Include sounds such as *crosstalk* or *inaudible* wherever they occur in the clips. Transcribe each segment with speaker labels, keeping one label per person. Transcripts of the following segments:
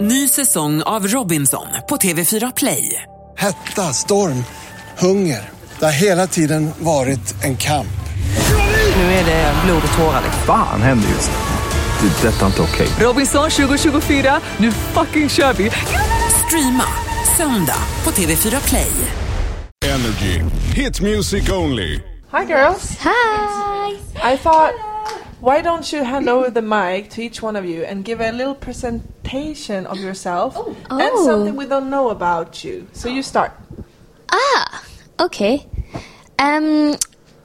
Speaker 1: Ny säsong av Robinson på TV4 Play.
Speaker 2: Hetta, storm, hunger. Det har hela tiden varit en kamp.
Speaker 1: Nu är det blod och tårar. liksom.
Speaker 3: Fan händer just nu. Det. är Detta är inte okej.
Speaker 1: Robinson 2024, nu fucking kör vi! Streama söndag på TV4 Play.
Speaker 4: Energy. Hit music only.
Speaker 5: Hi, girls.
Speaker 6: Hi.
Speaker 5: I thought, why don't you hand over the mic to each one of you and give a little presentation of yourself and
Speaker 6: Oh.
Speaker 5: something we don't know about you? So you start.
Speaker 6: Ah, okay. Um,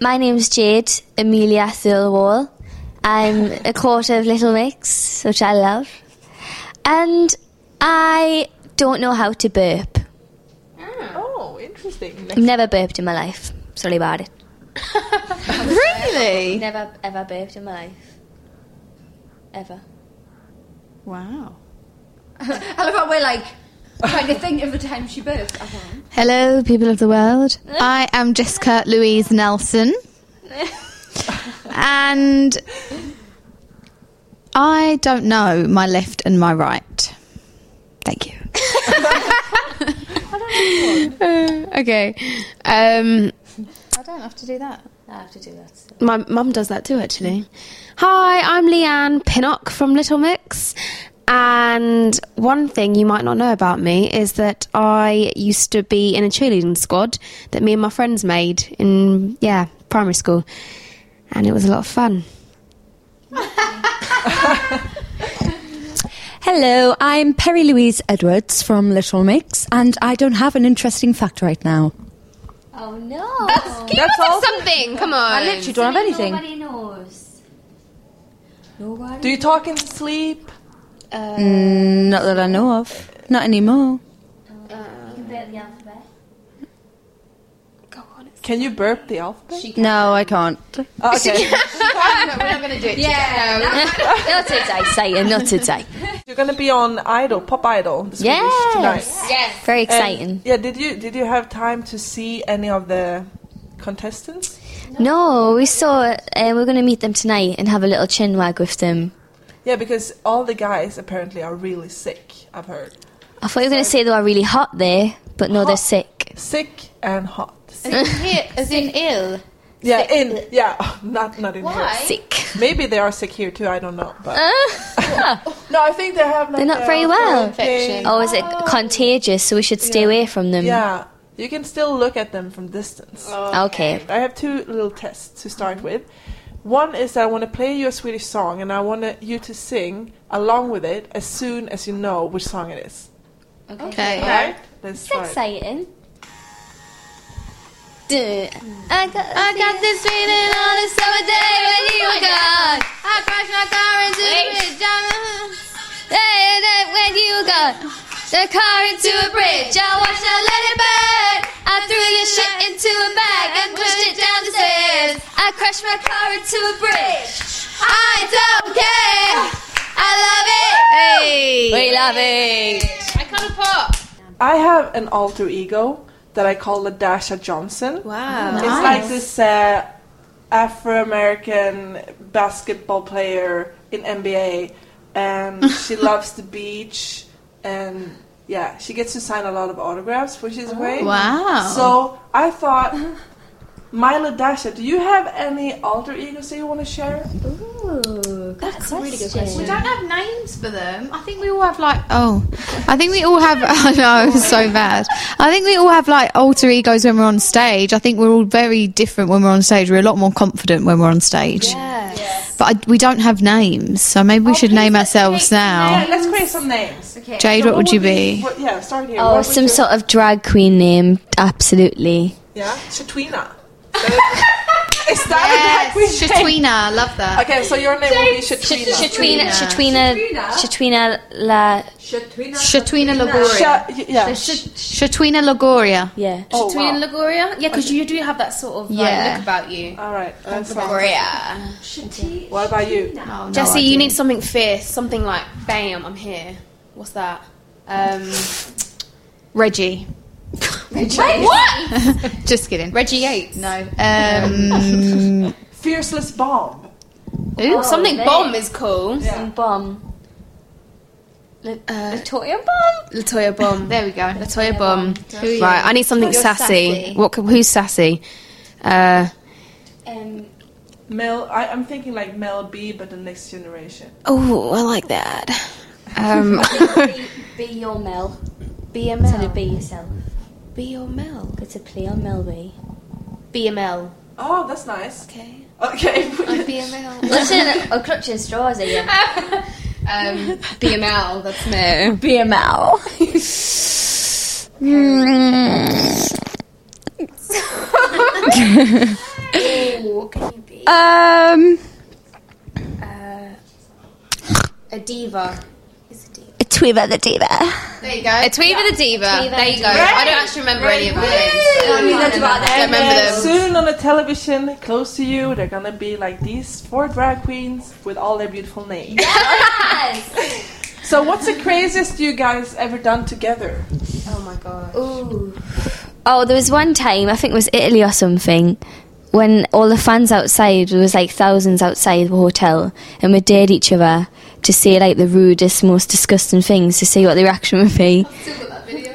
Speaker 6: my name's Jade Amelia Thirlwall. I'm a quarter of Little Mix, which I love. And I don't know how to burp.
Speaker 5: Oh, interesting.
Speaker 6: I've never burped in my life. Sorry about
Speaker 7: *laughs*
Speaker 6: it.
Speaker 8: Really?
Speaker 6: Never ever burped in my life. Ever.
Speaker 8: Wow. I love how we're like trying to think of the time she birthed.
Speaker 7: Hello, people of the world. I am Jessica Louise Nelson. and I don't know my left and my right. Thank you. Uh, *laughs* okay. Um, I don't have to do that.
Speaker 6: I have to do that.
Speaker 9: My mum does that too, actually.
Speaker 7: Hmm.
Speaker 9: Hi, I'm Leanne Pinnock from Little Mix. And one thing you might not know about me is that I used to be in a cheerleading squad that me and my friends made in, yeah, primary school. And it was a lot of fun.
Speaker 10: Hello, I'm Perry Louise Edwards from Little Mix, and I don't have an interesting fact right now.
Speaker 6: Oh no!
Speaker 5: That's all.
Speaker 9: Something, come on.
Speaker 10: I literally don't have anything.
Speaker 6: Nobody
Speaker 7: *laughs*
Speaker 6: knows. Nobody.
Speaker 5: Do you talk in sleep?
Speaker 10: Not that I know of. Not anymore.
Speaker 6: you can burp the alphabet.
Speaker 5: Can you burp the alphabet?
Speaker 10: No, I can't.
Speaker 5: Oh,
Speaker 6: *laughs*
Speaker 5: okay.
Speaker 6: Yeah, not today, Satan, not today.
Speaker 5: You're gonna be on Idol, Pop Idol, the Swedish
Speaker 6: Yes.
Speaker 5: tonight.
Speaker 6: Very
Speaker 5: And-
Speaker 6: exciting.
Speaker 5: yeah. Did you did you have time to see any of the contestants?
Speaker 6: No, we saw. Uh, we're going to meet them tonight and have a little chin wag with them.
Speaker 5: Yeah, because all the guys apparently are really sick. I've heard
Speaker 6: I thought you were going to say they were really hot there, but no, they're sick.
Speaker 5: sick and hot.
Speaker 8: As in ill.
Speaker 5: Yeah, in yeah, *laughs* not not in here.
Speaker 6: Sick. *laughs*
Speaker 5: Maybe they are sick here too. I don't know. But no, I think they have. Like
Speaker 6: They're not
Speaker 5: a
Speaker 6: very well. Oh.
Speaker 5: quarantine.
Speaker 6: Or is it contagious? So we should stay away from them.
Speaker 5: Yeah, you can still look at them from distance.
Speaker 6: Oh. Okay.
Speaker 5: I have two little tests to start with. One is that I want to play you a Swedish song, and I want to- you to sing along with it as soon as you know which song it is.
Speaker 7: Okay.
Speaker 5: Right? Let's
Speaker 6: It's
Speaker 5: start.
Speaker 6: exciting. Duh. I got.
Speaker 7: I got this feeling on a summer day when you were gone. I crashed my car into a bridge. I'm- Hey, hey, when you were gone. The car into a bridge. I watched I let it burn. I threw your shit into a bag and pushed it down the stairs. I crashed my car into a bridge. I don't care. I love it. Hey.
Speaker 6: We love it.
Speaker 5: I have an alter ego that I call Ladasha Johnson. Wow. It's like this uh, Afro American basketball player in NBA,
Speaker 7: *laughs*
Speaker 5: and she loves the beach, and yeah, she gets to sign a lot of autographs when she's away.
Speaker 7: Oh, Wow.
Speaker 5: So I thought, my Ladasha, do you have any alter egos that you want to share?
Speaker 6: Ooh, that's a really good
Speaker 7: We
Speaker 6: question.
Speaker 7: don't have names for them. I think we all have like oh, I think we all have. *laughs* I know, it's so bad. I think we all have like alter
Speaker 10: *laughs*
Speaker 7: egos when we're on stage. I think we're all very different when we're on stage. We're a lot more confident when we're on stage. But I, we don't have names, so maybe
Speaker 9: Oh,
Speaker 7: we should name ourselves now.
Speaker 5: Yeah, let's create some names. Okay.
Speaker 7: Jade, what would you be?
Speaker 5: What, yeah, start here.
Speaker 6: Oh,
Speaker 5: What would
Speaker 6: some
Speaker 5: you-
Speaker 6: sort of drag queen name, absolutely.
Speaker 5: Yeah,
Speaker 7: *laughs*
Speaker 5: Shatwina. Is that a drag queen?
Speaker 7: Shatwina, love that.
Speaker 5: Okay, so your name will be Shatwina.
Speaker 6: Shatwina, Shatwina, Shatwina, La,
Speaker 7: Shatwina Lagoria.
Speaker 5: Sha- yeah.
Speaker 7: Shatwina Lagoria.
Speaker 6: yeah.
Speaker 5: Oh, wow.
Speaker 8: Lagoria? Yeah, because you do have that sort of
Speaker 7: Yeah.
Speaker 8: like, look about you.
Speaker 5: All right. That's fine.
Speaker 8: Lagoria.
Speaker 5: What about you?
Speaker 9: Jesse,
Speaker 8: Jesse, you need something fierce, something like, bam, I'm here. What's that? Um, *laughs*
Speaker 7: Reggie.
Speaker 8: what?
Speaker 7: Just kidding.
Speaker 8: Reggie Yates.
Speaker 7: No. Um,
Speaker 5: Fearless Bomb.
Speaker 7: ooh,
Speaker 8: Something
Speaker 6: mate.
Speaker 8: bomb is cool.
Speaker 6: Some bomb.
Speaker 7: Latoya Bomb.
Speaker 9: Latoya Bomb.
Speaker 8: There we go.
Speaker 9: Latoya Bomb.
Speaker 7: Who are you?
Speaker 9: Right, I need something
Speaker 7: You're
Speaker 9: sassy.
Speaker 7: sassy.
Speaker 9: What? c- Who's sassy? Uh,
Speaker 7: Um,
Speaker 5: Mel, I, I'm thinking like Mel B, but the next generation.
Speaker 9: oh, I like that.
Speaker 8: *laughs*
Speaker 9: Um,
Speaker 6: be, be your Mel.
Speaker 7: be a
Speaker 6: Instead
Speaker 7: Mel.
Speaker 6: of be yourself.
Speaker 9: be your Mel.
Speaker 6: It's a play on Mel B.
Speaker 7: Be a Mel.
Speaker 5: Oh, that's nice.
Speaker 7: Okay.
Speaker 5: Okay.
Speaker 8: Be a male.
Speaker 6: Listen, or clutching straws are you?
Speaker 8: Um, be a male. That's me.
Speaker 7: *laughs*
Speaker 10: BML. Mm.
Speaker 7: What can you be?
Speaker 10: um,
Speaker 7: A diva. Is a diva.
Speaker 10: a Tweever the Diva.
Speaker 8: There you go. A tweet with a diva. There you go. I don't actually remember any of my names.
Speaker 5: *laughs*
Speaker 8: Don't remember them.
Speaker 5: Soon on the television, close to you, they're gonna be like these four drag queens with all their beautiful names. *laughs* so, what's the craziest you guys ever done together?
Speaker 8: Oh my god.
Speaker 6: Oh, there was one time, I think it was Italy or something, when all the fans outside, there was like thousands outside the hotel, and we dared each other to say like the rudest, most disgusting things to see what the reaction would be.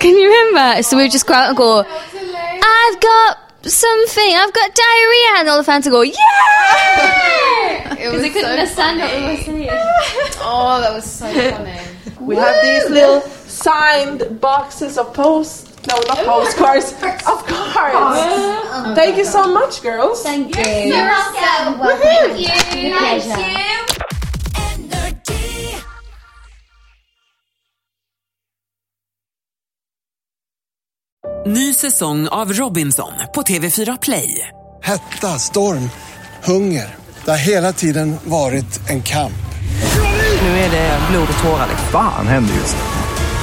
Speaker 6: Can you remember? So we would just go out and go, I've got something, I've got diarrhea, and all the fans would go,
Speaker 7: *laughs*
Speaker 6: yeah! Because they couldn't understand what we were saying.
Speaker 8: Oh, that was so funny.
Speaker 5: We have these little signed boxes of posts. No, not postcards. Of cards. Thank you so much, girls.
Speaker 6: Thank you.
Speaker 7: welcome. Thank you. Thank you.
Speaker 1: Ny säsong av Robinson på TV4 Play.
Speaker 2: Hetta, storm, hunger. Det har hela tiden varit en kamp.
Speaker 1: Nu är det blod och tårar.
Speaker 3: Fan händer just det.